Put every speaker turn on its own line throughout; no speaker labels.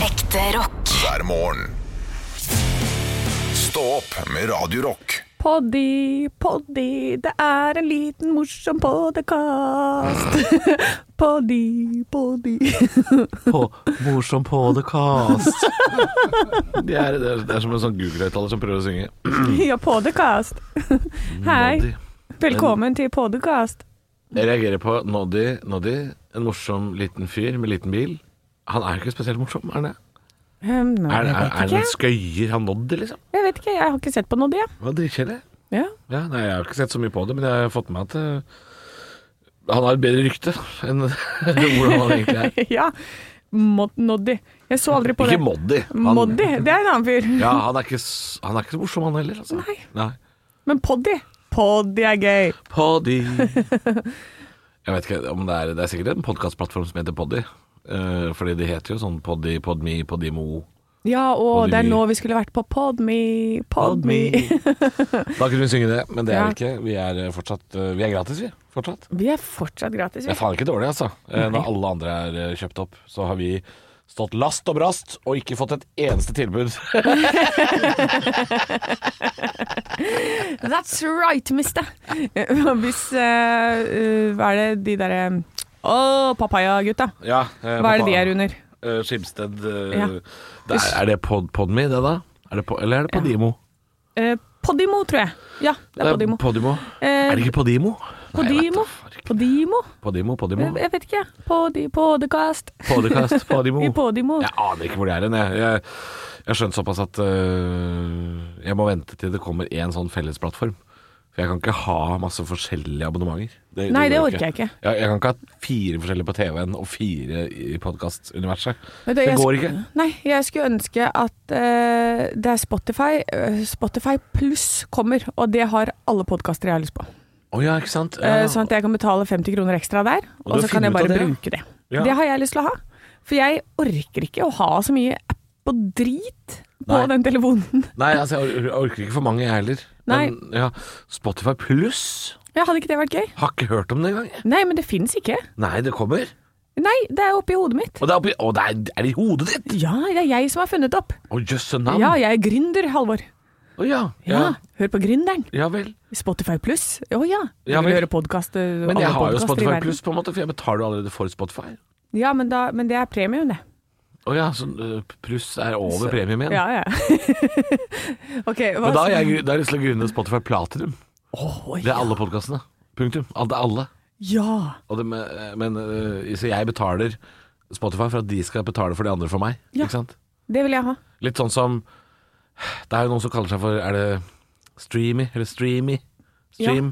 Ekte rock.
hver morgen. Stå opp med Radio Rock.
Poddy, poddy, det er en liten morsom podkast. Poddy, poddy.
på morsom podcast. Det er, det, er, det er som en sånn Google-høyttaler som prøver å synge.
Ja, podkast. Hei,
Mm, Noddy.
velkommen til podkast.
Jeg reagerer på Noddy, Noddy, en morsom liten fyr med liten bil. Han er jo ikke spesielt morsom, er han det?
Um, nå,
Er, er,
jeg
er
vet
han en
ikke.
skøyer, han Noddy, liksom?
Jeg vet ikke, jeg har ikke sett på noe, det.
Hva dritkjedelig.
Ja.
Ja, nei, jeg har ikke sett så mye på det, men jeg har fått med meg at eh, han har et bedre rykte enn hvordan han egentlig er.
ja. Mod- Noddy. Jeg så aldri på det.
Ikke Moddy. Han-
Moddy, det er en annen fyr.
Ja, han er ikke, s- han er ikke så morsom, han heller. Altså.
Nei.
nei.
Men poddy. Poddy er gøy.
Poddy. Jeg vet ikke om det er Det er sikkert en podkastplattform som heter Poddy. Eh, fordi det heter jo sånn Poddy, Podme, Podimo.
Ja, og det er
Poddy.
nå vi skulle vært på Podme, Podme.
da kunne vi synge det, men det er
Ja.
vi ikke. Vi er eh, fortsatt eh, Vi er gratis, vi. Fortsatt.
Vi er fortsatt gratis,
Det er
vi.
faen ikke dårlig, altså. Eh, Når alle andre er eh, kjøpt opp, så har vi stått last og brast og ikke fått et eneste tilbud.
That's right, mister. Hvis eh, eh, Hva er det de derre Å, papaya-gutta.
ja,
eh, Hva er det de er under?
Uh, Skibsted eh,
Ja.
der, Er det pod, Podme, det da? Er det po, eller er det Podimo?
Eh, Podimo, tror jeg. Ja, det er Podimo.
Podimo.
Eh,
Er det ikke Podimo?
Podimo? Podimo?
Podimo, Podimo.
Jeg jeg vet ikke. Podi, podcast.
Podcast, Podimo.
I Podimo.
Jeg aner ikke hvor det er hen. Jeg, jeg, jeg har skjønt såpass at øh, jeg må vente til det kommer én sånn fellesplattform. For jeg kan ikke ha masse forskjellige abonnementer.
Nei, det
går
orker jeg ikke.
Jeg, jeg kan ikke ha fire forskjellige på TV-en og fire i podkastuniverset.
Vet du,
Det
jeg
går
sk-
ikke.
Nei, jeg skulle ønske at eh, det er Spotify. eh, Spotify pluss kommer, og det har alle podkaster jeg har lyst på.
Å ja, ikke sant?
Eh,
Ja.
Sånn at jeg kan betale 50 kroner ekstra der,
Og
og,
du
så kan
finner
jeg
ut av
bare
det, ja.
bruke det.
Ja.
Det har jeg lyst til å ha. For jeg orker ikke å ha så mye app og drit på
Nei.
den telefonen.
Nei, altså, jeg or- jeg orker ikke for mange, jeg heller. Men ja, Spotify pluss
Ja, hadde ikke det vært gøy?
har ikke hørt om det engang. jeg.
Nei, men det fins ikke.
Nei, det kommer.
Nei, det er oppi hodet mitt.
Og det er, oppi, å, det er, er det i hodet ditt!
Ja, det er jeg som har funnet opp.
Å, jøsse navn.
Ja, jeg er gründer, Halvor.
Å ja.
Ja,
Ja,
Hør på Gründeren.
ja vel.
Spotify pluss. Å ja. Du
Ja,
vil
vel.
høre podkast
Men jeg har jo Spotify Pluss, på en måte, for jeg betaler jo allerede for Spotify.
Ja, men, da, men det er premium, det.
Å ja, så eh, pluss er over premium igjen.
Ja, ja. ok, hva
Men da har jeg gru- da har jeg lyst til å grunne Spotify Platinum.
Å,
Det er alle podkastene. Punktum. Al- Det er alle.
ja.
Og det, med- men eh, så jeg betaler Spotify for at de skal betale for de andre for meg.
Ja.
Ikke sant?
Det vil jeg ha.
Litt sånn som Det er jo noen som kaller seg for Er det Streamy? Eller Streamy? Stream?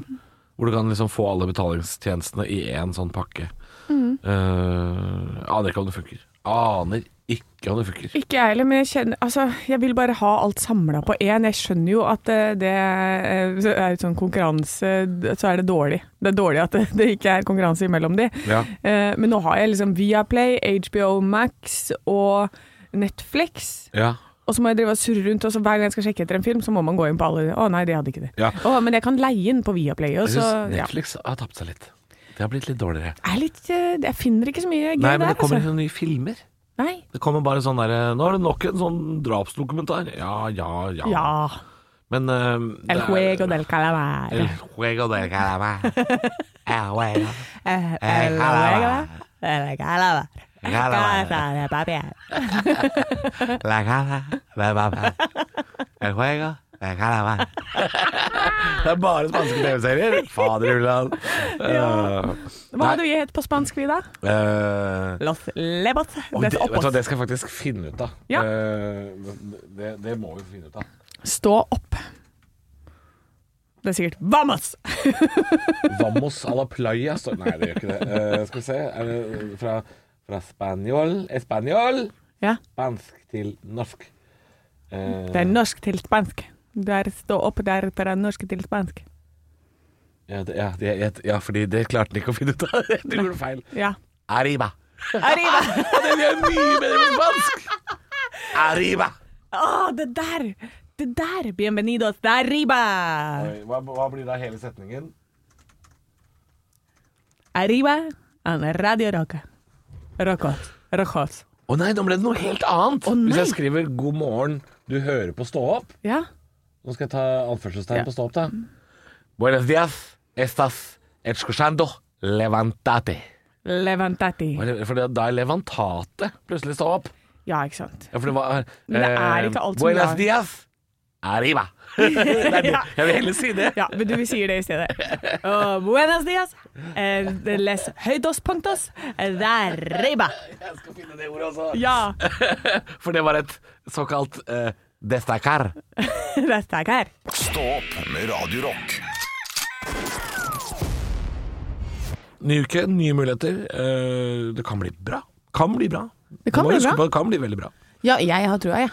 Hvor du kan liksom få alle betalingstjenestene i én sånn pakke.
Mm.
Eh, aner ikke om det funker. Aner ikke om det funker.
Ikke jeg heller, men jeg kjenner Altså, jeg vil bare ha alt samla på én. Jeg skjønner jo at eh, det eh, så er et sånn konkurranse d- Så er det dårlig. Det er dårlig at det, det ikke er konkurranse imellom de.
Ja.
Eh, Men nå har jeg liksom Viaplay, HBO Max og Netflix.
Ja.
Og så må jeg drive og surre rundt, og så hver gang jeg skal sjekke etter en film, så må man gå inn på alle Å nei, det hadde ikke det.
Ja.
Å, men jeg kan leie inn på Viaplay, og
Jeg
så
syns
ja.
Netflix har tapt seg litt. Det har blitt litt dårligere.
Jeg, er litt, eh, jeg finner ikke så mye gøy
Nei, men
der,
det
altså.
kommer ikke noen nye filmer.
Nei.
Det kommer bare sånn derre Nå er det nok en sånn drapsdokumentar. Ja, ja, ja.
Ja.
Men eh,
El
det er-
juego del calamar.
El juego del calamar. El juego.
Eh,
Eh,
eh, eh, Calabar.
Calabar.
Casa de papel.
La cara del papel. El juego del calamar. Det er bare spanske TV-serier. Fader ulland.
Ja. Hva
Nei.
hadde vi hett på spansk, vi da?
Eh,
Los lebos. Des
og det, vet du, hva,
opos.
det skal jeg faktisk finne ut av.
Ja.
Eh, det, det må vi finne ut av.
Stå opp. Det er sikkert Vamos!
Vamos a la playa står Nei, det gjør ikke det. Eh, skal vi se. Er det fra, fra spanjol Espanjol
Ja,
Spansk til norsk. Eh,
det er norsk til spansk. Det er stå opp, det er fra norsk til spansk.
ja, det, ja, det, jeg- ja, fordi det klarte han ikke å finne ut av. Du gjorde feil.
Ja.
Arriba.
Arriba!
Ja, det er mye bedre på spansk! Arriba.
Å, det der! Det der! Bienvenidos de arriba!
Oi, Hva, hva blir da hele setningen?
Arriba on Radio Roca. Rocos. Rojos.
Å nei, nå ble det noe helt annet!
Å nei.
Hvis jeg skriver 'God morgen, du hører på Stå opp'
Ja.
Nå skal jeg ta anførselstegn
Ja.
på Stå opp, da. Buenos dias, estas escuchando levantate.
Levantati.
For det- da er levantate plutselig Stå opp.
Ja, ikke sant.
Ja, for det var
Men det er
eh,
ikke alt som
Buenos
er-
dias, arriba. Nei, det, jeg vil heller si det.
Ja, men du, vi sier det i stedet. Oh, buenos dias. Eh, les høydos punktos. Derriba.
Jeg skal finne det ordet også.
Ja,
For det var et såkalt uh, destacar.
dette er her.
Stå opp med Radio Rock.
Ny uke, nye muligheter. Eh, det kan bli bra. Kan bli bra.
Det kan
Du må
bli
huske
bra.
på at Det kan bli veldig bra.
Ja, jeg har trua, jeg.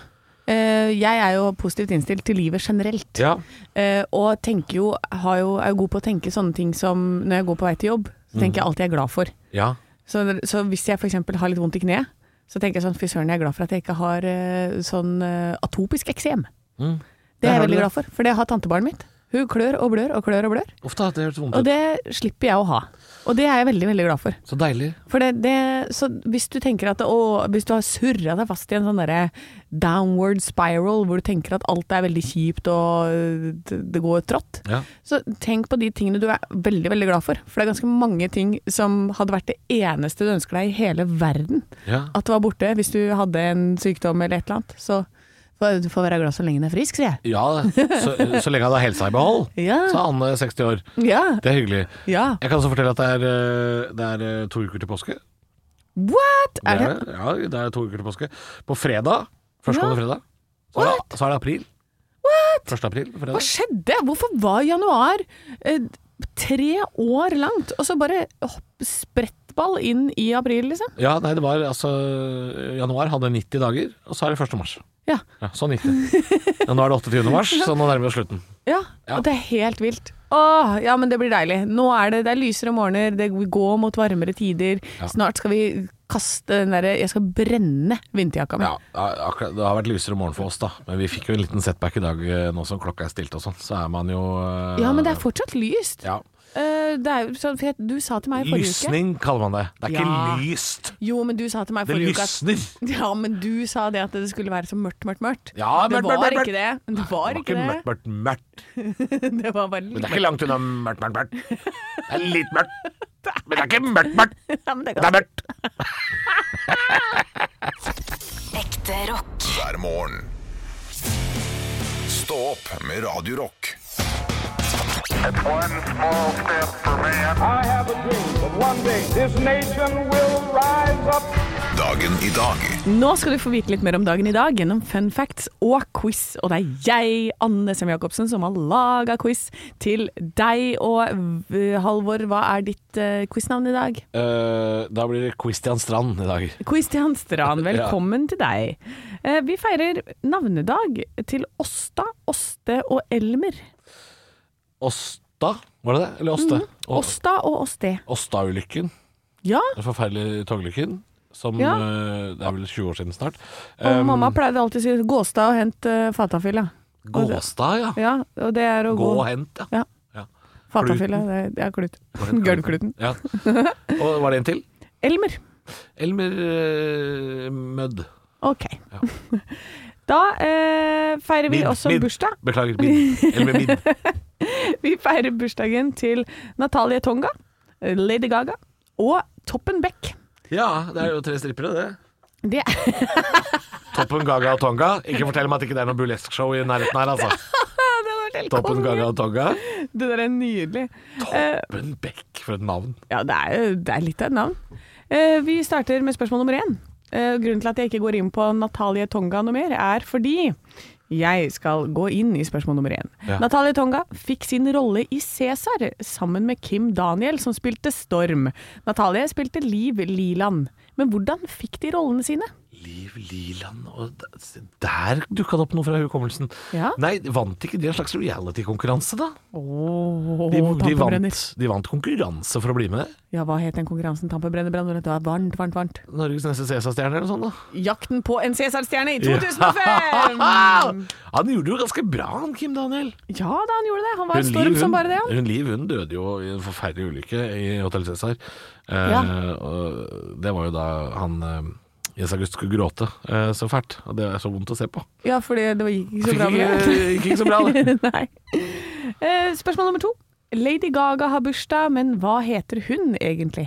Eh, jeg er jo positivt innstilt til livet generelt.
Ja.
Eh, og tenker jo, har jo, er jo god på å tenke sånne ting som når jeg går på vei til jobb, så
Mm.
tenker jeg alt jeg er glad for.
ja.
Så, så hvis jeg f.eks. har litt vondt i kneet, så tenker jeg sånn fy søren, jeg er glad for at jeg ikke har eh, sånn eh, atopisk eksem.
Mm.
Det
Der
er
har
jeg veldig
du det.
glad for, for det har tantebarnet mitt. Hun klør og blør og klør og blør,
Ofte har det hørtes vondt
og
ut.
det slipper jeg å ha. Og det er jeg veldig, veldig glad for.
Så deilig.
For det, det, så hvis du tenker at å, Hvis du har surra deg fast i en sånn derre downward spiral, hvor du tenker at alt er veldig kjipt og øh, det det går trått,
Ja.
så tenk på de tingene du er veldig veldig glad for. For det er ganske mange ting som hadde vært det eneste du ønsker deg i hele verden
Ja.
at det var borte hvis du hadde en sykdom eller et eller annet. Så får- du får være glad så lenge du er frisk, sier jeg.
ja så, så lenge han har helsa i behold,
Ja.
sa Anne 60 eh, år.
Ja.
Det er hyggelig.
ja.
Jeg kan også fortelle at det er, eh, det er eh, to uker til påske.
What? Er det?
Ja, det er to uker til påske. På fredag, førstkommende fredag, så er,
What?
det, så er det april. What? 1. april på
Hva
fredag.
skjedde? Hvorfor var januar eh, tre år langt, og så bare hopp, sprettball inn i april, liksom?
Ja, nei, det var altså Januar hadde 90 dager, og så er det 1. mars.
Ja.
Ja, så 90. Ja, nå er det 28. mars, så nå nærmer vi oss slutten.
ja.
Ja.
Og det er helt vilt. Åh, ja, men det blir deilig. Nå er det, det er lysere morgener, det vi går mot varmere tider.
Ja.
Snart skal vi kaste den derre Jeg skal brenne vinterjakka mi.
Ja, akkurat, Det har vært lysere morgen for oss, da. Men vi fikk jo en liten setback i dag eh, nå som klokka er stilt og sånn. Så er man jo eh,
Ja, men det er fortsatt lyst.
ja.
Eh, det er, jo sånn- for jeg, du sa til meg i forrige uke
Lysning kaller man det. Det er
Ja.
ikke lyst.
Jo, men du sa til meg i
Det
forrige uke at
lysner.
Ja, men du sa det at det skulle være så mørkt, mørkt, mørkt.
Ja,
det
mørkt, mørkt,
var
mørkt,
ikke det. Det var ikke det.
mørkt, mørkt, mørkt.
Det var bare
Men
litt
det er ikke langt unna mørkt, mørkt, mørkt. Det er litt mørkt. Men det er ikke mørkt, mørkt.
Ja, men det er
Det er
godt.
mørkt.
Ekte rock.
hver morgen. Stå opp med Radio Rock.
It's one small step for man.
I have a dream that one day this nation will rise up.
Dagen i dag.
Nå skal du få vite litt mer om dagen i dag gjennom fun facts og quiz. Og det er jeg, Anne Sem Jacobsen, som har laga quiz til deg. Og eh, Halvor, hva er ditt eh, quiznavn i dag?
Eh, da blir det Christian Strand i dag.
Quiz til Hans Strand, velkommen til deg. Eh, Vi feirer navnedag til Åsta, Åste og Elmer.
Åsta, var det det? Eller Åste? Og-
Åsta og Åste.
Åsta-ulykken.
Ja,
Den forferdelige togulykken. Som
Ja.
eh, Det er vel 20 år siden snart.
og
Um,
mamma pleide alltid å si 'Gåstad og hent eh, fatafylla'.
Gåstad, ja.
Ja, og det er å
Gå
gå
og hent, ja.
Ja.
Ja.
Fatafylla, det er- det er klut. Gulvkluten.
Ja. Og var det en til?
Elmer.
Elmer eh, Mødd.
Ok. Da eh, feirer vi
Midd,
også
midd.
bursdag.
Beklager, Midd. Elmer Midd.
Vi feirer bursdagen til Natalie Tonga, Lady Gaga og Toppen Beck.
Ja, det er jo tre strippere, det.
Det er,
Toppen Gaga og Tonga. Ikke fortell meg at ikke det er noe burlesque-show i nærheten her, altså.
det var helt
Toppen
konge.
Gaga og Tonga.
Det der er nydelig. Eh,
Toppen Beck, for et navn.
ja, det er, jo- det er litt av et navn. Eh, vi starter med spørsmål nummer én. Eh, grunnen til at jeg ikke går inn på Natalie Tonga noe mer, er fordi jeg skal gå inn i spørsmål nummer én.
Ja.
Natalie Tonga fikk sin rolle i Cæsar sammen med Kim Daniel, som spilte Storm. Natalie spilte Liv Liland. Men hvordan fikk de rollene sine?
Liv Liland og d- se, Der dukka det opp noe fra hukommelsen.
Ja.
Nei, vant ikke de en slags reality-konkurranse, da?
Oh,
De, de,
tamperenner.
vant, de vant konkurranse for å bli med.
Ja, hva het den konkurransen? Tampebrenner, brennbrenner, det var varmt, varmt, varmt.
Norges neste Cæsar-stjerne eller noe sånt, da.
Jakten på en Cæsar-stjerne i
Ja.
2005!
Han gjorde det jo ganske bra, han Kim Daniel.
Ja da, han gjorde det. Han var en
Liv,
storm som bare det, han.
hun Liv hun døde jo i en forferdelig ulykke i Hotell Cæsar. Eh,
Ja.
og Det var jo da han eh, Jens August skulle gråte eh, så fælt, og det er så vondt å se på.
Ja, fordi det gikk ikke så
Fikk
bra med
ikke, gikk ikke så bra, det.
Nei. Eh, spørsmål nummer to. Lady Gaga har bursdag, men hva heter hun egentlig?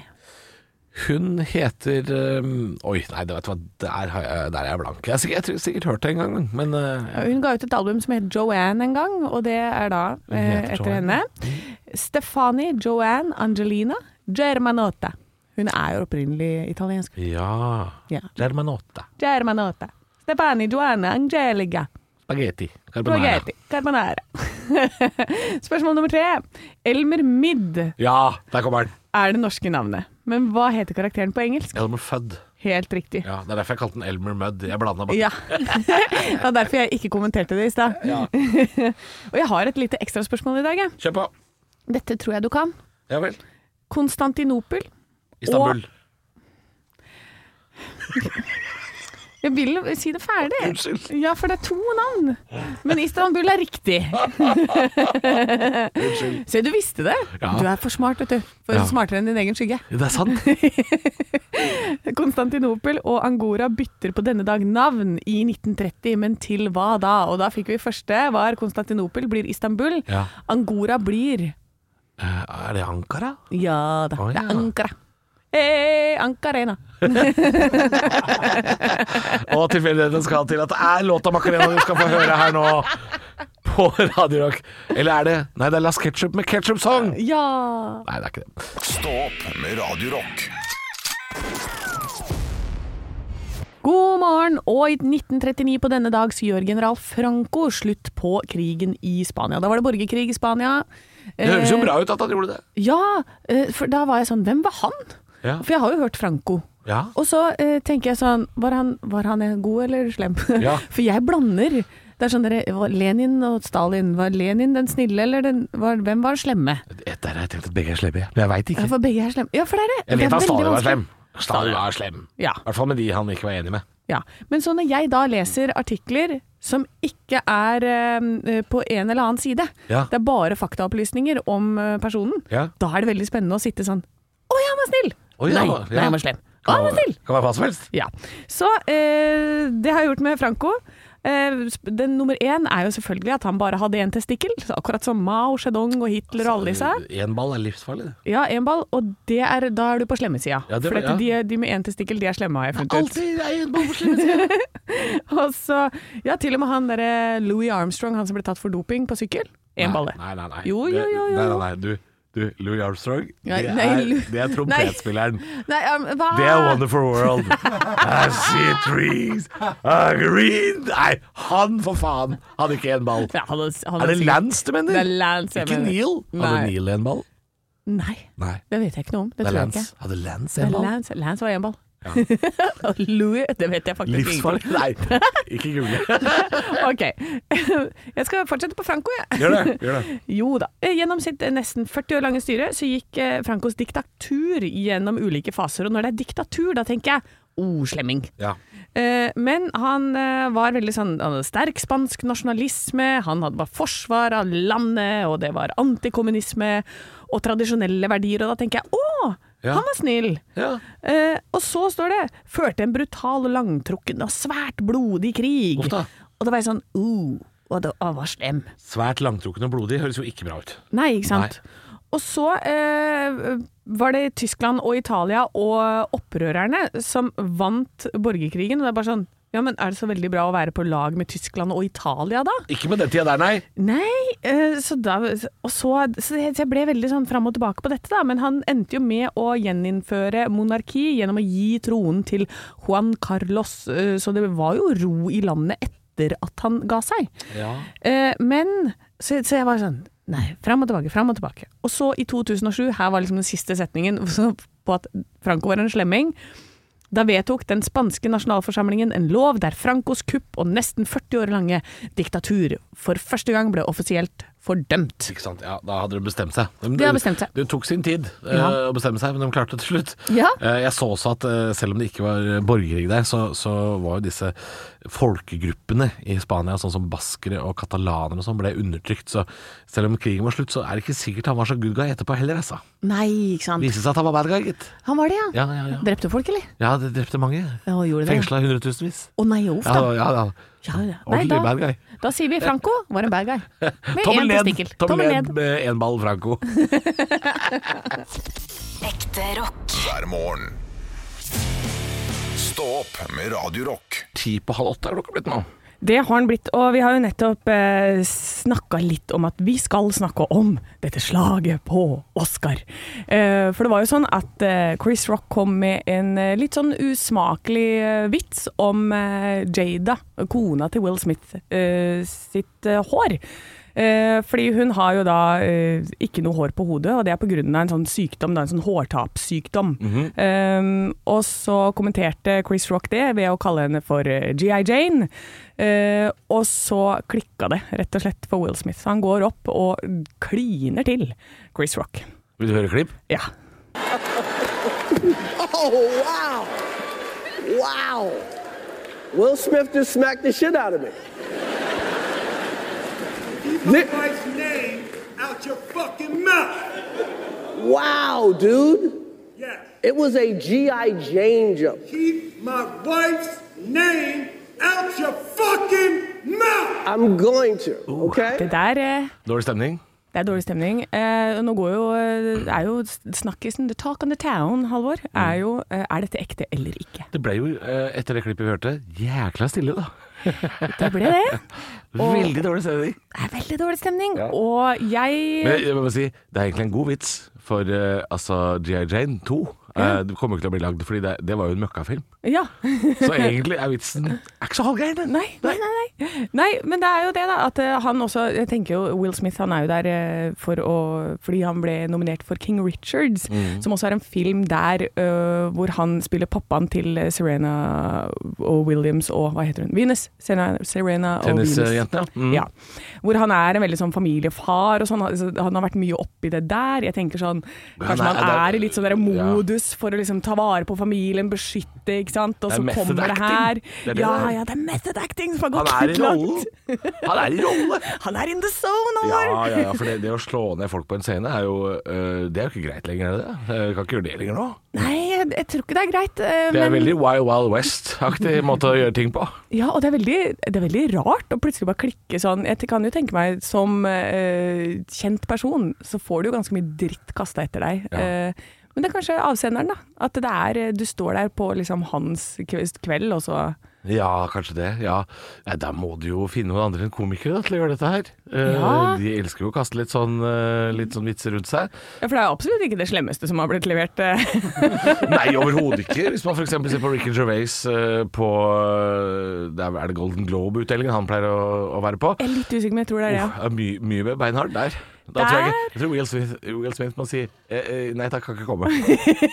Hun heter eh, Oi, nei, det vet du hva, der, har jeg, der er jeg blank. Jeg har sikkert, jeg har sikkert hørt det en gang, men eh,
Ja, Hun ga ut et album som het Joanne en gang, og det er da eh,
heter
etter
Joanne. Mm.
henne. Stefani Joanne Angelina Germanotta. Hun er jo opprinnelig italiensk.
Ja
Ja.
Germanotta.
Germanotta. Stefani Joanne Angelica.
Spagetti. Carbonara.
Spaghetti. Carbonara. Spørsmål nummer tre. Elmer Midd
Ja, der kommer den.
er det norske navnet, men hva heter karakteren på engelsk?
Elmer Fudd.
Helt riktig.
Ja, det er derfor jeg kalte den Elmer Mudd. Jeg blanda bare.
Ja. Det var derfor jeg ikke kommenterte det i stad. Og jeg har et lite ekstraspørsmål i dag. jeg.
Kjør på.
Dette tror jeg du kan.
Ja vel.
Konstantinopel.
Istanbul.
Jeg vil jo si det ferdig.
Unnskyld.
Ja, for det er to navn. Men Istanbul er riktig. Se, du visste det.
Ja.
Du er for smart, vet du. For
Ja.
smartere enn din egen skygge.
Det er sant.
Konstantinopel og Angora bytter på denne dag navn i 1930, men til hva da? Og da fikk vi første var Konstantinopel blir Istanbul.
Ja.
Angora blir
Eh, Er det Ankara?
Ja da,
Å,
det er
ja.
Ankara. Hey, Ankarena.
Og tilfeldigheten skal til at det er låta Macarena du skal få høre her nå. På Radio Rock. Eller er det Nei, det er Las Ketchup med Ketchup Song.
Ja.
Nei, det er ikke det.
Stå opp med Radio Rock.
God morgen, og i 1939 på denne dag så gjør general Franco slutt på krigen i Spania. Da var det borgerkrig i Spania.
Det høres
Eh,
jo bra ut at han gjorde det.
Ja, eh, for da var jeg sånn, hvem var han?
Ja.
For jeg har jo hørt Franco.
ja.
Og så eh, tenker jeg sånn, var han, var han god eller slem?
Ja.
for jeg blander. Det er sånn, dere, var Lenin og Stalin, var Lenin den snille, eller den, var, hvem var slemme?
Etter har jeg tenkt at begge er slemme, men jeg veit
Ja,
ikke.
for begge er slemme. Ja, for det er det.
Jeg
Det er
vet at
veldig
Stalin var
vanskelig.
slem. Stalin var slem.
Ja.
I hvert fall med de han ikke var enig med.
Ja, Men så når jeg da leser artikler som ikke er eh, på en eller annen side,
Ja.
det er bare faktaopplysninger om eh, personen,
Ja.
da er det veldig spennende å sitte sånn Å, ja, han var snill!
Å, ja,
nei,
ja.
nei, han var slem. Å, han var snill!
Kan være hva som helst.
Ja. Så eh, det har jeg gjort med Franco. Eh, sp- den nummer én er jo selvfølgelig at han bare hadde én testikkel, så akkurat som Mao Zedong og Hitler og alle disse.
Én ball er livsfarlig. det.
Ja, én ball, og det er, da er du på slemmesida.
Ja, det
For
var-
dette, de, de med én testikkel, de er slemme, har jeg funnet ut.
Alltid er én ball på slemmesida.
Og så, ja, til og med han derre Louis Armstrong, han som ble tatt for doping på sykkel. Én balle.
Nei, nei, nei.
Jo, jo, jo, jo.
Nei, nei, nei. Du, du Louis Armstrong,
Ja,
det,
nei, Lou-
er, det er trompetspilleren.
Nei, um, hva?
Det er Wonderful World. I see trees are green Nei, han for faen hadde ikke én ball.
Ja, han hadde- han
Er det
hadde sikkert-
Lance du mener?
Det er Lance, jeg
Ikke
mener.
Neil. Hadde
Nei.
Neil en ball?
Nei,
Nei.
det vet jeg ikke noe om. Det,
Det er
tror jeg ikke.
Lance. Hadde Lance
Det er
en ball?
Lance, Lance var én ball. Og Louis, det vet jeg faktisk
Livsfarlig? Nei, ikke google.
ikke. Ok. Jeg skal fortsette på Franco, jeg.
Gjør det. gjør det
Jo da. Gjennom sitt eh, nesten 40 år lange styre så gikk eh, Francos diktatur gjennom ulike faser. Og når det er diktatur, da tenker jeg oh, slemming.
Ja.
Eh, Men han eh, var veldig sånn han hadde sterk spansk nasjonalisme, han hadde var forsvar av landet, og det var antikommunisme og tradisjonelle verdier, og da tenker jeg å,
Ja.
han var snill.
Ja.
Eh, og så står det førte en brutal, langtrukken og svært blodig krig.
Uff da.
Og da var jeg sånn uh, og da, han var slem.
Svært langtrukken og blodig høres jo ikke bra ut.
Nei, ikke sant. Og så eh, var det Tyskland og Italia og opprørerne som vant borgerkrigen. Og det er bare sånn Ja, men er det så veldig bra å være på lag med Tyskland og Italia, da?
Ikke med den tida der, nei.
Nei, eh, så da Og så Så jeg så jeg ble veldig sånn fram og tilbake på dette, da. Men han endte jo med å gjeninnføre monarki gjennom å gi tronen til Juan Carlos. eh, Så det var jo ro i landet etter at han ga seg.
Ja.
Eh, men så, så jeg var sånn Nei, fram og tilbake, fram og tilbake. Og så i 2007, her var liksom den siste setningen så på at Franco var en slemming. Da vedtok den spanske nasjonalforsamlingen en lov der Francos kupp og nesten 40 år lange diktatur for første gang ble offisielt
fordømt.
Ikke sant? Ja, da hadde de bestemt seg. De,
De har bestemt seg.
Det tok sin tid eh,
Ja.
å bestemme seg, men de klarte det til slutt.
Ja.
Eh, jeg så også at eh, selv om det ikke var borgerkrig der, så, så var jo disse folkegruppene i Spania, sånn som baskere og katalanere og sånn, ble undertrykt. Så selv om krigen var slutt, så er det ikke sikkert han var så good guy etterpå heller, altså.
Nei, ikke sant.
Viste seg at han var bad guy, gitt.
Han var det, ja.
Ja, ja, ja.
Drepte folk, eller?
Ja, det drepte mange.
Ja, gjorde det.
Fengsla hundretusenvis.
Å nei, uff
Ja,
da.
ja, ja.
Ja, ja. Nei,
Ordentlig
da,
bad guy.
da sier vi Franco var en bad guy. Med
Tommel
én
ned,
testikkel.
tommel
Tommel
ned
ned.
med én ball Franco.
Ekte rock.
hver morgen. Stå opp med Radio Rock.
Ti på halv åtte er klokka blitt nå.
Det har den blitt, og vi har jo nettopp eh, snakka litt om at vi skal snakke om dette slaget på Oscar. Eh, for det var jo sånn at eh, Chris Rock kom med en eh, litt sånn usmakelig eh, vits om eh, Jada, kona til Will Smith, eh, sitt eh, hår. Eh, fordi hun har jo da eh, ikke noe hår på hodet, og det er pga. en sånn sykdom, da, en sånn hårtapssykdom. Eh, og så kommenterte Chris Rock det ved å kalle henne for eh, GI Jane. Eh, og så klikka det, rett og slett, for Will Smith. Så han går opp og kliner til Chris Rock.
Vil du høre klipp?
Ja.
Oh, wow. Wow. Will Smith just smacked the shit out of me.
my wife's name out your fucking mouth.
Wow, dude.
Yes.
It was a G.I. Jane jump.
Keep my wife's name out your fucking mouth.
I'm going to, okay?
Det der eh,
Dårlig stemning?
det er dårlig stemning. Eh, nå går jo, eh, er jo snakkisen The Talk on the Town, Halvor, er jo eh, Er dette ekte eller ikke?
Det ble jo, eh, etter det klippet vi hørte, jækla stille, da.
Det ble det.
Veldig dårlig stemning.
Det er veldig dårlig stemning. Og jeg
Men jeg, jeg må bare si, det er egentlig en god vits, for eh, altså G.I. Jane 2 eh, det kommer jo ikke til å bli lagd, fordi det, det var jo en møkkafilm.
Ja.
Så egentlig er vitsen er ikke så halvgæren. den.
Nei, nei, nei, nei. Nei, men det er jo det, da. At eh, han også Jeg tenker jo Will Smith han er jo der eh, for å fordi han ble nominert for King Richards,
Mm.
som også er en film der eh, hvor han spiller pappaen til eh, Serena og Williams og hva heter hun? Venus. Serena, Serena og Venus.
Tennisjentene, ja. Mm.
Ja. Hvor han er en veldig sånn familiefar og sånn. Altså, Han har vært mye oppi det der. Jeg tenker sånn
Han
Kanskje
er-
man
det er-
er i litt sånn der
Ja.
modus for å liksom ta vare på familien, beskytte, ikke sant. Og
Det
så
er method
kommer det her.
acting. Det er det
ja,
det er.
ja, det er method acting som har
Han
gått
er i
litt
rollen.
langt.
Han er i rolle!
Han er in the zone,
Ja,
Halvor!
ja, ja, for det, det å slå ned folk på en scene er jo eh, Det er jo ikke greit lenger, er det det? Eh, kan ikke gjøre det lenger nå.
Nei, jeg, jeg tror ikke det er greit. eh,
Det er
men-
veldig Wild Wild West-aktig måte å gjøre ting på.
Ja, og det er, veldig, det er veldig rart å plutselig bare klikke sånn. Jeg kan jo tenke meg, som eh, kjent person, så får du jo ganske mye dritt kasta etter deg.
Ja.
Eh, men det er kanskje avsenderen, da. At det er, eh, du står der på liksom, hans kve- kveld, og så
Ja, kanskje det. Ja. Nei, da må du jo finne noen andre enn komikere da, til å gjøre dette her. Eh,
Ja.
De elsker jo å kaste litt sånn, eh, litt sånn vitser rundt seg.
Ja, for det er absolutt ikke det slemmeste som har blitt levert. eh.
Nei, overhodet ikke. Hvis man f.eks. ser på Ricky Gervais eh, på eh, det Er er det Golden Globe-utdelingen han pleier å, å være på?
Jeg er litt usikker, men jeg tror det er det, ja.
Uff, er mye, mye mer beinhard der. Da tror jeg, ikke, jeg tror Will Smith, Will Smith må si eh, eh, Nei takk, kan ikke komme.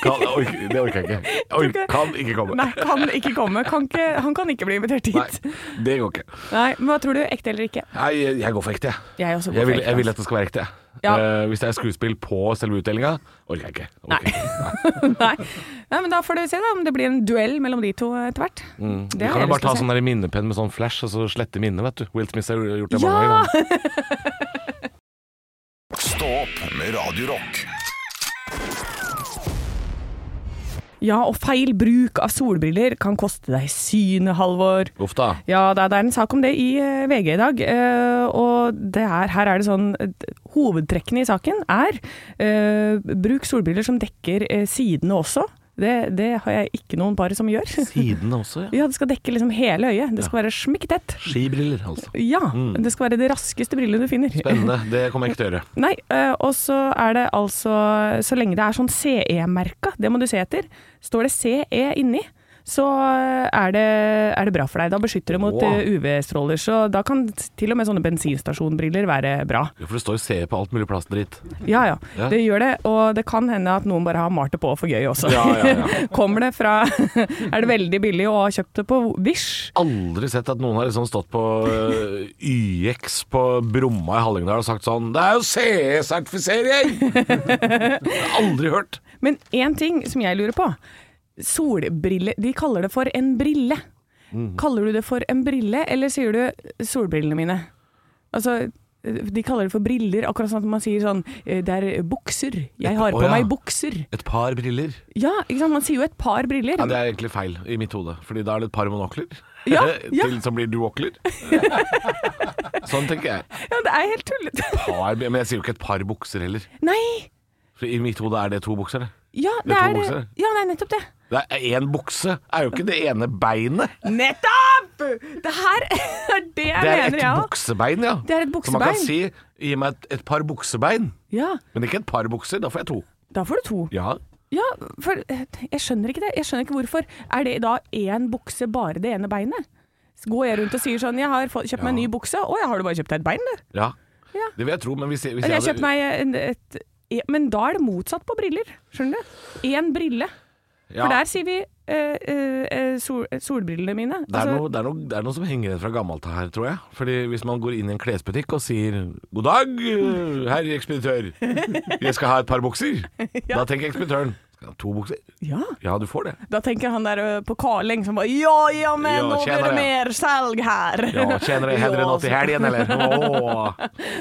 Kan, ork, det orker jeg ikke. Ork, kan ikke komme.
Nei, kan ikke komme. Kan ikke, han kan ikke bli invitert
Nei,
hit. Nei.
det går ikke.
Men hva tror du? Ekte eller ikke?
Nei, jeg jeg går for ekte, jeg.
Jeg er også god
Jeg
for
vil,
ekte,
jeg vil
altså.
at det skal være ekte. jeg.
Ja.
Eh, hvis det er skuespill på selve utdelinga, orker jeg ikke. Orker
Nei.
ikke.
Nei. Nei, men da får du se da, om det blir en duell mellom de to etter hvert. Det
Vi
har jeg
kan
lyst
jo bare
til å
ta
se.
sånn der minnepenn med sånn flash og så slette minnet, vet du. Will Smith har gjort det
Ja!
mange ganger. han.
Stå opp med Radio Rock
Ja, og feil bruk av solbriller kan koste deg synet, Halvor.
Uff da.
Ja, det er, det er en sak om det i eh, VG i dag. eh, og det er, her er det sånn eh, Hovedtrekkene i saken er eh, bruk solbriller som dekker eh, sidene også. Det, det har jeg ikke noen par som gjør.
Sidene også, ja.
Ja, det skal dekke liksom hele øyet. Det skal være smikketett.
Skibriller, altså.
Ja, det skal være det raskeste brillet du finner.
Spennende. Det kommer jeg ikke til å gjøre.
Nei, eh, og så er det altså Så lenge det er sånn CE-merka, det må du se etter. Står det CE inni, så er det, er det bra for deg. Da beskytter det mot
Wow.
eh, UV-stråler, så da kan til og med sånne bensinstasjonbriller være bra.
Jo, for det står jo C på alt mulig plastdritt.
Ja, ja,
Ja.
det gjør det. Og det kan hende at noen bare har malt det på for gøy også.
Ja, ja, ja.
Kommer det fra Er det veldig billig og har kjøpt det på Wish?
Aldri sett at noen har liksom stått på eh, YX på Bromma i Hallingdal og sagt sånn Det er jo CE-sertifisering! Aldri hørt.
Men én ting som jeg lurer på. Solbrille De kaller det for en brille.
Mhm.
Kaller du det for en brille, eller sier du 'solbrillene mine'? Altså, de kaller det for briller, akkurat sånn at man sier sånn eh, 'det er bukser'. Jeg har
Å,
på
ja.
meg bukser.
Et par briller.
Ja, ikke sant. Man sier jo et par briller.
Ja, Det er egentlig feil i mitt hode, Fordi da er det et par monokler
Ja, ja.
Til, som blir duokler. sånn tenker jeg.
Ja, det er helt tullete.
Par, men jeg sier jo ikke et par bukser heller.
Nei!
For I mitt hode er det to bukser. det.
Ja, det
Det er
er
to
det.
bukser.
Ja, det er nettopp det.
Det er Én bukse er jo ikke det ene beinet.
Nettopp! Det her er det jeg
Det er
mener,
et
ja.
buksebein, ja.
Det er et
Så man kan
buksebein.
si 'gi meg et, et par buksebein',
Ja,
men ikke et par bukser. Da får jeg to.
da får du to.
Ja,
Ja, for eh, jeg skjønner ikke det. Jeg skjønner ikke hvorfor. Er det da én bukse, bare det ene beinet? Så Går jeg rundt og sier sånn 'Jeg har fått- kjøpt meg en ny bukse.' 'Å, ja, har du bare kjøpt deg et bein, du?'
ja.
Ja.
Det vil jeg tro, men hvis jeg, hvis
Eller 'Jeg har
hadde-
kjøpt meg en, et e- Men da er det motsatt på briller. Skjønner du? Én brille.
ja,
For der sier vi eh, eh, eh, sol, solbrillene mine. Altså,
det er, noe, det, er noe, det er noe som henger igjen fra gammelt her, tror jeg. Fordi Hvis man går inn i en klesbutikk og sier 'God dag, eh, herr ekspeditør, jeg skal ha et par bukser', da tenker ekspeditøren «Skal jeg ha 'to bukser'?
ja.
Ja, du får det.
Da tenker han der ø, på Kaleng som bare Ja, ja, men
Ja,
nå blir
tjenere.
det mer salg her.
Ja, Tjener det heller enn
Ja,
åt i helgen, eller? Åh,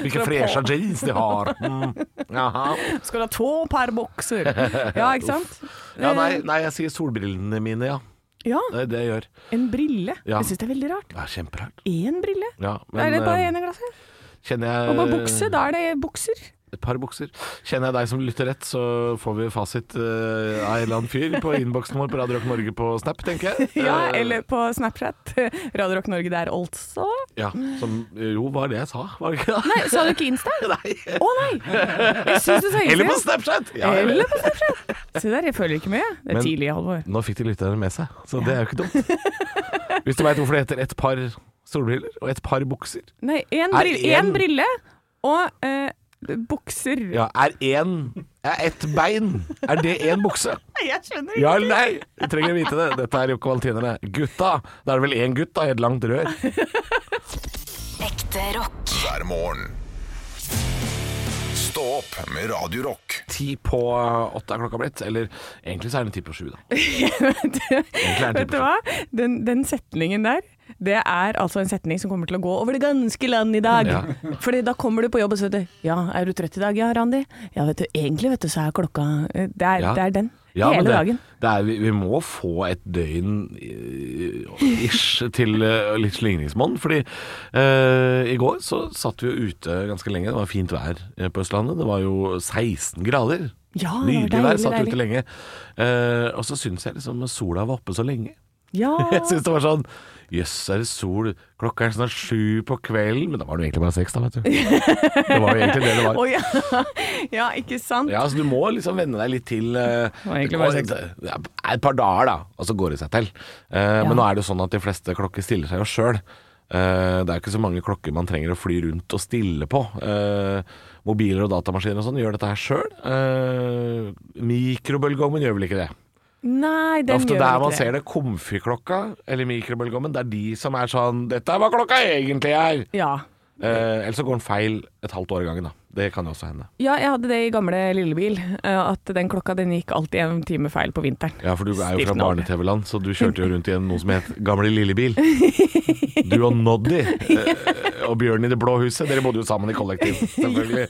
hvilke
Skal du
freshe
på?
jeans de har. Mm. Jaha.
så Skal du ha to par bukser? Ja, ikke sant? Eh,
Ja, nei, nei, jeg sier solbrillene mine, ja.
Ja,
Det er det jeg gjør.
en brille.
Ja.
Jeg syns det er veldig rart.
Det er kjemperart.
Én brille?
Ja,
er det bare
eh,
én i glasset?
kjenner jeg
Og på bukse, da er det bukser.
Et par bukser. Kjenner jeg deg som lytter rett, så får vi fasit eh, av en eller annen fyr på innboksen vår på Radio Rock Norge på Snap, tenker jeg.
Ja,
Eh,
eller på Snapchat. Radio Rock Norge der altså.
ja, som eh, Jo, var det jeg sa, var det ikke det?
Nei, sa du ikke Insta?
Nei.
Å nei! Jeg syns du sa Insta.
Eller på Snapchat! Ja, jeg vet.
Eller på Snapchat. Se der, jeg følger ikke med. Det
Men-
er tidlig, Halvor.
Nå fikk de lytterne med seg, så det er jo ikke dumt. Hvis du veit hvorfor det heter et par solbriller og et par bukser
Nei, én
Er
brille,
en-
en... brille og eh, bukser.
Ja, er én Er ett bein Er det én bukse?
Jeg skjønner
Ja eller nei? Vi trenger å vite det. Dette er Jokke Valentinerne. Gutta! Da er det vel én gutt da, i et langt rør.
Ekte rock.
hver morgen. Stå opp med Radio Rock.
Ti på åtte er klokka blitt. Eller egentlig så er den ti på sju, da. Egentlig er den ti
Vet du
på sju.
hva? Den, den setningen der, det er altså en setning som kommer til å gå over det ganske land i dag.
Ja.
Fordi da kommer du på jobb og så vet du Ja, er du trøtt i dag? Ja, Randi. Ja, vet du, egentlig vet du, så er klokka eh, Det er,
Ja.
det er den.
Ja, men
Hele
det,
dagen.
Det er, vi, vi må få et døgn eh, ish til eh, litt slingringsmonn. Fordi eh, i går så satt vi jo ute ganske lenge. Det var fint vær eh, på Østlandet. Det var jo 16 grader.
Ja, det var
Nydelig vær.
deilig,
Satt
deilig.
ute lenge. Eh, og så syns jeg liksom sola var oppe så lenge.
Ja.
Jeg syns det var sånn Jøss, er det sol? Klokka er snart sju på kvelden. Men da var det jo egentlig bare seks, da, vet du. Det var jo egentlig det det var.
Å, ja. ja, ikke sant?
Ja, så du må liksom venne deg litt til eh,
var egentlig bare seks.
det er Et par dager, da, og så går det seg til. Eh, Men nå er det jo sånn at de fleste klokker stiller seg jo sjøl. det er ikke så mange klokker man trenger å fly rundt og stille på. Eh, mobiler og datamaskiner og sånn gjør dette her sjøl. Uh, mikrobølgeovnen gjør vel ikke det.
Nei,
Det er
den
ofte
gjør
der
ikke
man
det.
ser det. Komfyrklokka eller mikrobølgeovnen, det er de som er sånn 'Dette er hva klokka egentlig er!'
Ja.
Uh, eller så går den feil et halvt år i gangen, da. Det kan jo også hende.
ja, jeg hadde det i gamle lillebil. eh, At den klokka den gikk alltid en time feil på vinteren.
Ja, for du er jo fra
Stivt navn.
barne-TV-land, så du kjørte jo rundt i en- noe som het Gamle Lillebil. Du og Noddy eh, og Bjørn i Det blå huset, dere bodde jo sammen i kollektiv, selvfølgelig.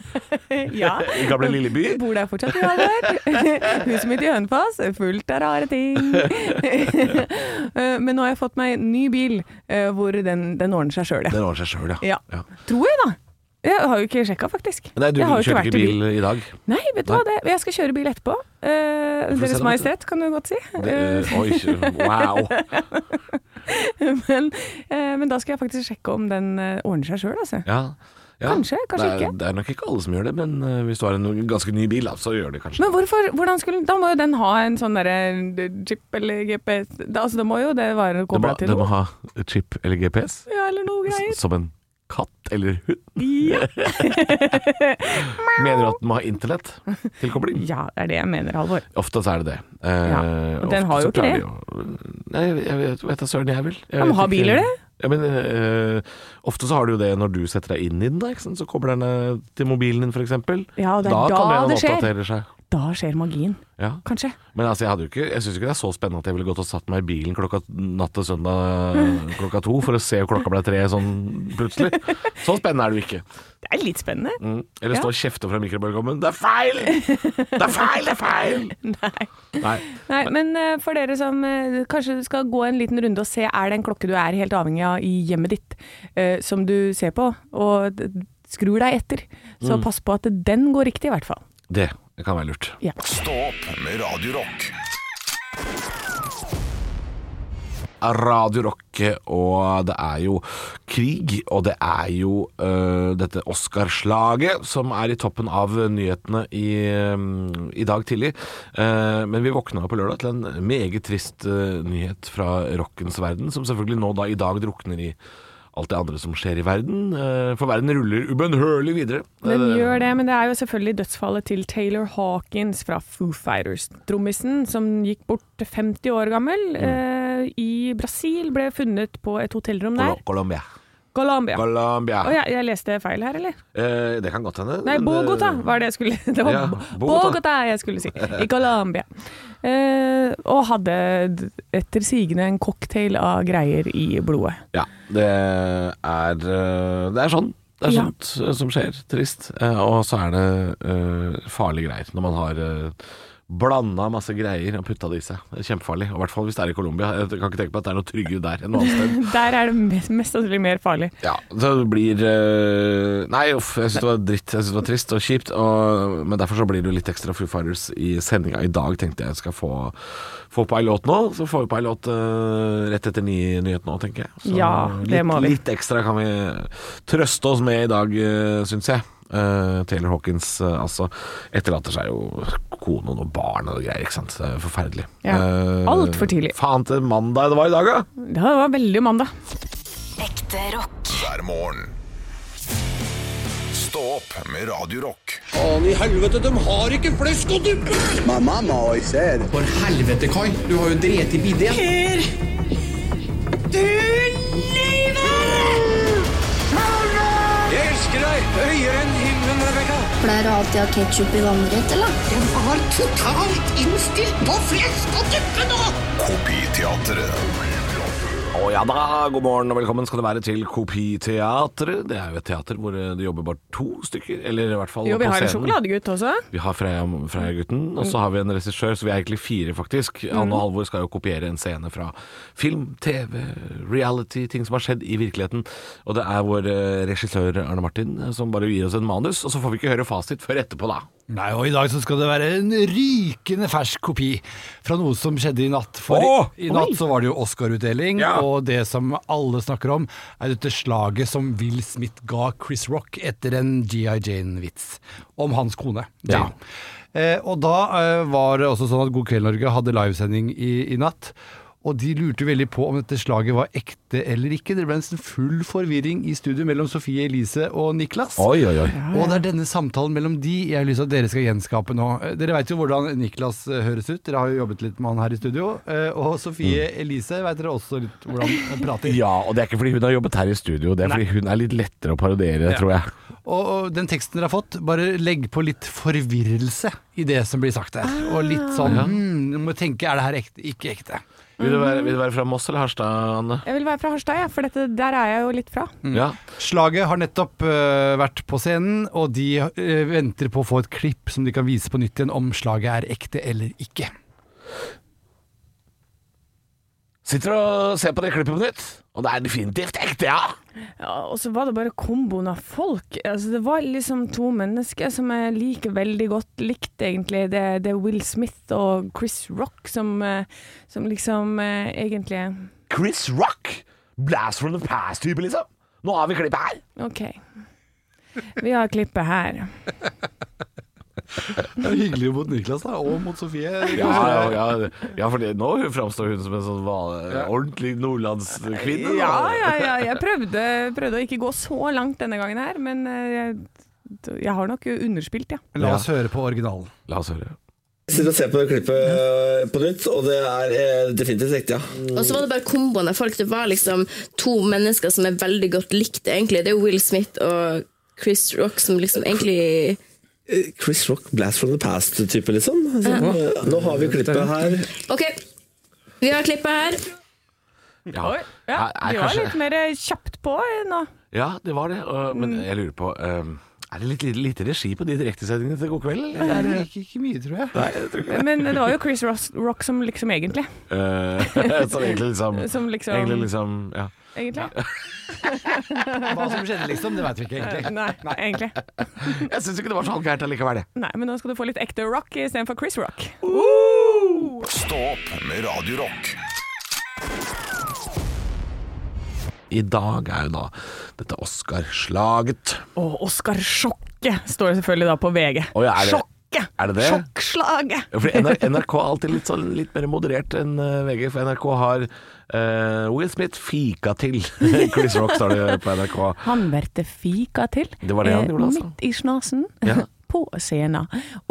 Ja.
I Gamle Lilleby.
Bor der fortsatt i Halvor. Huset mitt i Hønefoss er fullt av rare ting. Eh, Men nå har jeg fått meg en ny bil eh, hvor den, den ordner seg sjøl, ja.
Den ordner seg sjøl,
ja. Tror jeg, da. Jeg har jo ikke sjekka, faktisk.
Nei, du
jeg har jo
kjørte ikke
vært i
bil i dag.
Nei, vet du hva. Det, jeg skal kjøre bil etterpå. Eh,
får se
Deres
da, vet du.
Majestet, kan du godt si.
Det, eh, oi, wow.
men, eh, men da skal jeg faktisk sjekke om den eh, ordner seg sjøl, altså.
Ja. Ja,
Kanskje, kanskje
det er,
ikke.
Det er nok ikke alle som gjør det, men eh, hvis du har en ganske ny bil, da, så gjør de kanskje det.
Men hvorfor, hvordan skulle, da må jo den ha en sånn derre chip eller GPS da, Altså, det må jo det være
Det må,
kobla til
det må
noe.
ha chip eller GPS,
Ja, eller noe
s-
greier.
som en katt eller hund. Mener du at den må ha internett-tilkobling?
Ja, det er det jeg mener, Halvor.
Ofte så er det det. Eh,
Ja, og den
ofte
har jo
så
ikke
klarer
det.
de jo- Nei, jeg vet- jeg vet vet da søren jeg vil. Jeg
Ja, men
vet
har
ikke-
biler det?
Ja, men eh, ofte så har du jo det når du setter deg inn i den, da, ikke sant? så kobler den eh, til mobilen din f.eks.
Ja, og det er da
kan den
det skjer.
oppdatere seg.
Da skjer magien,
Ja.
kanskje.
Men altså, jeg, hadde jo ikke, jeg syns ikke det er så spennende at jeg ville gått og satt meg i bilen klokka natt til søndag klokka to for å se om klokka ble tre sånn plutselig. Så spennende er det jo ikke.
Det er litt spennende.
Mm. Eller
Ja.
stå og kjefte fra mikrobølgeovnen. Det er feil! Det er feil! Det er feil!
Nei.
Nei.
Nei, men eh, for dere som eh, kanskje skal gå en liten runde og se, er det en klokke du er helt avhengig av i hjemmet ditt, eh, som du ser på, og d- skrur deg etter, så pass på at den går riktig i hvert fall.
Det kan være lurt.
Stå opp med Radio Rock.
Radio Rock, og det er jo krig, og det er jo øh, dette Oscarslaget som er i toppen av nyhetene i, øh, i dag tidlig. Eh, men vi våkna på lørdag til en meget trist øh, nyhet fra rockens verden, som selvfølgelig nå da i dag drukner i alt det andre som skjer i verden. eh, for verden ruller ubønnhørlig videre.
Den
Eh,
gjør det, men det er jo selvfølgelig dødsfallet til Taylor Hawkins fra Foo Fighters. Trommisen som gikk bort 50 år gammel eh, i Brasil, ble funnet på et hotellrom
Col-
der.
Colombia.
Colombia. Å
Colombia.
ja, jeg leste feil her, eller?
Eh, det kan godt hende.
Nei,
men, eh,
Bogota var det jeg skulle Det var
Ja,
Bo-
Bogota.
Bogota jeg skulle si. I Colombia. Eh, og hadde d- etter sigende en cocktail av greier i blodet.
Ja, det er, eh, det er sånn. Det er
Ja.
sånt eh, som skjer. Trist. Eh, Og så er det eh, farlige greier når man har blanda masse greier og putta det i seg. Det er kjempefarlig. Og I hvert fall hvis det er i Colombia. Jeg kan ikke tenke meg at det er noe tryggere der enn noe annet sted.
Der er det mest, mest sannsynlig mer farlig.
Ja, så det blir eh, Nei, uff, jeg syns det var dritt. Jeg synes det var trist og kjipt. Og, men derfor så blir det jo litt ekstra Foo Fighters i sendinga i dag, tenkte jeg skal få, få på ei låt nå. Så får vi på ei låt eh, rett etter ny nyhet nå, tenker jeg. Så
Ja, det
litt,
må vi.
Litt ekstra kan vi trøste oss med i dag, uh, syns jeg. Eh, Taylor Hawkins eh, altså etterlater seg jo konen og barn og greier, ikke sant. Det er forferdelig.
Ja.
Eh,
Alt for tidlig.
Faen til mandag det var i dag, da!
Det var veldig mandag.
Ekte rock.
Hver morgen. Stå opp med Radio Rock.
My mama always said,
Pleier du alltid å ha ketsjup i vannrett, eller? Den var totalt innstilt på flest og duppe nå!
Kopiteatret.
Å ja da, god morgen og velkommen skal det være til Kopiteatret. Det er jo et teater hvor eh, det jobber bare to stykker, eller i hvert fall
Jo, vi har en
på
Mm.
scenen.
sjokoladegutt også.
Vi har Freya, Freya gutten, og så har vi en regissør, så vi er egentlig fire faktisk.
Mm.
Anne og Halvor skal jo kopiere en scene fra film, TV, reality, ting som har skjedd i virkeligheten. Og det er vår eh, regissør Arne Martin eh, som bare gir oss en manus, og så får vi ikke høre fasit før etterpå da.
Nei, og i dag så skal det være en rykende fersk kopi fra noe som skjedde i natt. For
Åh,
i, i natt så var det jo Oscar-utdeling,
Ja.
og det som alle snakker om, er dette slaget som Will Smith ga Chris Rock etter en G.I. Jane-vits om hans kone. Jane. Eh, og da eh, var det også sånn at God kveld Norge hadde livesending i, i natt. Og de lurte veldig på om dette slaget var ekte eller ikke. Det ble en sånn full forvirring i studio mellom Sofie Elise og Niklas.
Oi, oi, oi.
Og det er denne samtalen mellom de jeg har lyst til at dere skal gjenskape nå. Eh, Dere vet jo hvordan Niklas eh, høres ut, dere har jo jobbet litt med han her i studio. Eh, Og Sofie Elise vet dere også litt hvordan han prater.
Ja, og det er ikke fordi hun har jobbet her i studio, det er fordi hun er litt lettere å parodiere, tror jeg.
Og, og den teksten dere har fått, bare legg på litt forvirrelse i det som blir sagt der. Og litt sånn hmm, Du må tenke er det her ekte, ikke ekte.
Mm.
Vil du være, vil du være fra Moss eller Harstad, Anne?
Jeg vil være fra Harstad, jeg, for dette, der er jeg jo litt fra.
Ja.
Slaget har nettopp eh, vært på scenen, og de eh, venter på å få et klipp som de kan vise på nytt igjen om slaget er ekte eller ikke.
Sitter og ser på det klippet på nytt, og det er definitivt ekte, ja!
Ja, og så var det bare komboen av folk. Altså, det var liksom to mennesker som jeg liker veldig godt likt, egentlig. Det, det er Will Smith og Chris Rock som, eh, som liksom eh, egentlig
Chris Rock! Blast from the past-type, liksom. Nå har vi klippet her.
OK. Vi har klippet her.
Det er hyggelig mot Niklas da, og mot Sofie.
Ja, ja, ja, ja for det, nå framstår hun som en sånn van- ordentlig nordlandskvinne. da.
Ja, ja, ja. Jeg prøvde, prøvde å ikke gå så langt denne gangen her, men eh, jeg, jeg har nok underspilt, ja.
Men La oss høre på originalen.
La oss høre.
Sitter og ser på klippet på nytt, og det er eh, definitivt riktig, ja.
Og så var det bare komboen jeg folk. Det var liksom to mennesker som er veldig godt likt, egentlig. Det er jo Will Smith og Chris Rock som liksom egentlig
Eh, Chris Rock, Blast from the Past-type, liksom. Så,
Ja.
eh, Nå har vi klippet her.
OK, vi har klippet her.
Ja.
Oi, ja.
Er- er
Vi var
kanskje-
litt mer eh, kjapt på nå.
ja, det var det. og-
Mm.
Men jeg lurer på eh, Er det litt lite, lite regi på de direktesendingene til God kveld? eller er det-
Ikke, ikke mye, tror jeg.
Nei, jeg tror ikke det.
Men det var jo Chris Ross, Rock som liksom egentlig.
Eh, Som egentlig liksom
Som liksom-
Egentlig liksom ja.
Egentlig.
Hva som skjedde, liksom, det vet vi ikke egentlig.
Nei, egentlig.
Jeg syns ikke det var så halvgærent allikevel, jeg.
Nei, men nå skal du få litt ekte rock istedenfor Chris Rock.
Stå opp med Radio Rock.
I dag er jo da dette Oscarslaget.
Og Oscar-sjokket står selvfølgelig da på VG.
Å, ja, er det-
Sjokket!
er det det?
Sjokkslaget!
Ja, Fordi NR NRK er alltid litt, sånn, litt mer moderert enn eh, VG, for NRK har eh, Will Smith fika til. Chris Rock står det på NRK.
Han verte fika til.
Det var det han
eh,
gjorde, altså.
Midt i snasen.
Ja.
På scenen.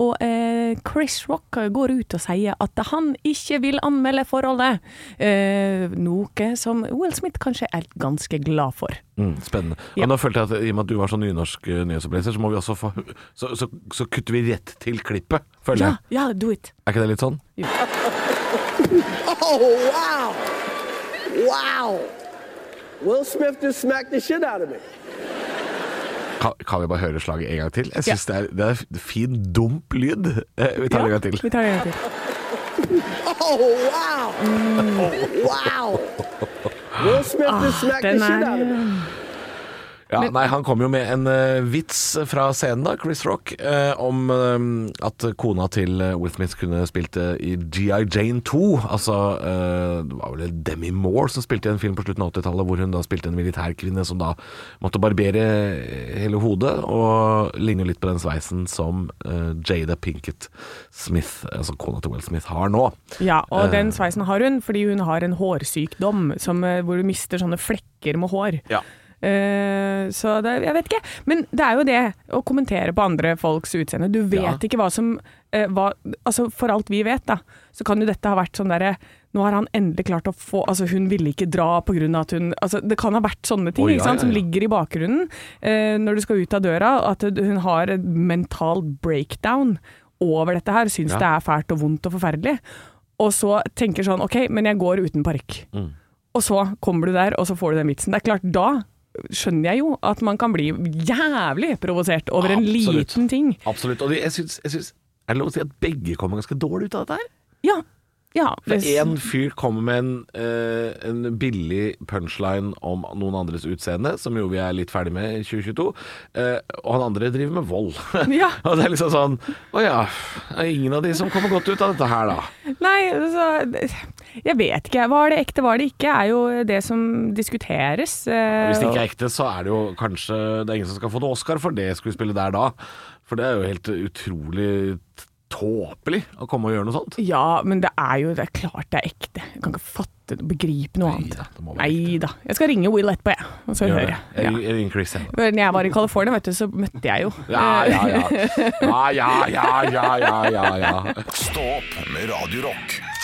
Og eh, Chris Rock går ut og sier at han ikke vil anmelde forholdet. Eh, noe som Will Smith kanskje er ganske glad for.
Mm, spennende.
Ja.
Og nå følte jeg at I og med at du var så nynorsk eh, nyhetsoppleser, så, må vi også få, så, så, så kutter vi rett til klippet, føler
Ja,
jeg.
ja, do it.
Er ikke det litt sånn?
Oh, wow! Oh, Wow! Will Smith just smacked the shit out of me.
Kan, kan vi bare høre slaget en gang til? Jeg syns det, er- det er f- fin, dump lyd. Eh, vi tar det en gang til.
Vi tar det en gang til.
Oh, wow! Oh, Wow! Will Smith just smacked the
den
shit
er-
out of me.
Ja, nei, Han kom jo med en eh, vits fra scenen, da, Chris Rock, eh, om eh, at kona til eh, Will Smith kunne spilt eh, i GI Jane 2. Altså, eh, det var vel Demi Moore som spilte i en film på slutten av 80-tallet, hvor hun da spilte en militærkvinne som da måtte barbere eh, hele hodet, og ligner jo litt på den sveisen som eh, Jada Pinkett Smith, altså kona til Will Smith, har nå.
Ja, og
Eh.
den sveisen har hun fordi hun har en hårsykdom som, eh, hvor du mister sånne flekker med hår.
Ja.
Eh, så det, jeg vet ikke. Men det er jo det å kommentere på andre folks utseende. Du vet
Ja.
ikke hva som eh, hva, altså For alt vi vet, da, så kan jo dette ha vært sånn derre Nå har han endelig klart å få Altså, hun ville ikke dra på grunn av at hun altså, Det kan ha vært sånne ting
Å, ja,
ikke sant,
ja,
som
ja.
ligger i bakgrunnen eh, når du skal ut av døra. At hun har et mental breakdown over dette her. Syns
Ja.
det er fælt og vondt og forferdelig. Og så tenker sånn OK, men jeg går uten parykk. Og så kommer du der, og så får du den vitsen. Det er klart, da skjønner jeg jo at man kan bli jævlig provosert over en
Absolutt.
liten ting.
Absolutt. Og de- jeg syns, jeg syns Er det lov å si at begge kommer ganske dårlig ut av dette her?
Ja. ja
For
hvis-
en fyr kommer med en, eh, en billig punchline om noen andres utseende, som jo vi er litt ferdig med i 2022, eh, og han andre driver med vold.
Ja.
og det er liksom sånn Å ja, det er ingen av de som kommer godt ut av dette her, da.
Nei, altså Jeg vet ikke. Var det ekte, var det ikke? Er jo det som diskuteres. eh,
Hvis det ikke er ekte, så er det jo kanskje Det er ingen som skal få en Oscar for det skuespillet der da. For det er jo helt utrolig t- tåpelig å komme og gjøre noe sånt.
Ja, men det er jo det er klart det er ekte. Jeg kan ikke fatte begripe noe annet. Nei da. Jeg skal ringe Will etterpå, jeg. Og så hører jeg.
Jeg ringer Chris, jeg.
Men jeg var i California, vet du, så møtte jeg jo eh,
Ja, ja, ja. Ja, ja, ja, ja, ja, ja.
Stå opp med Radio Rock.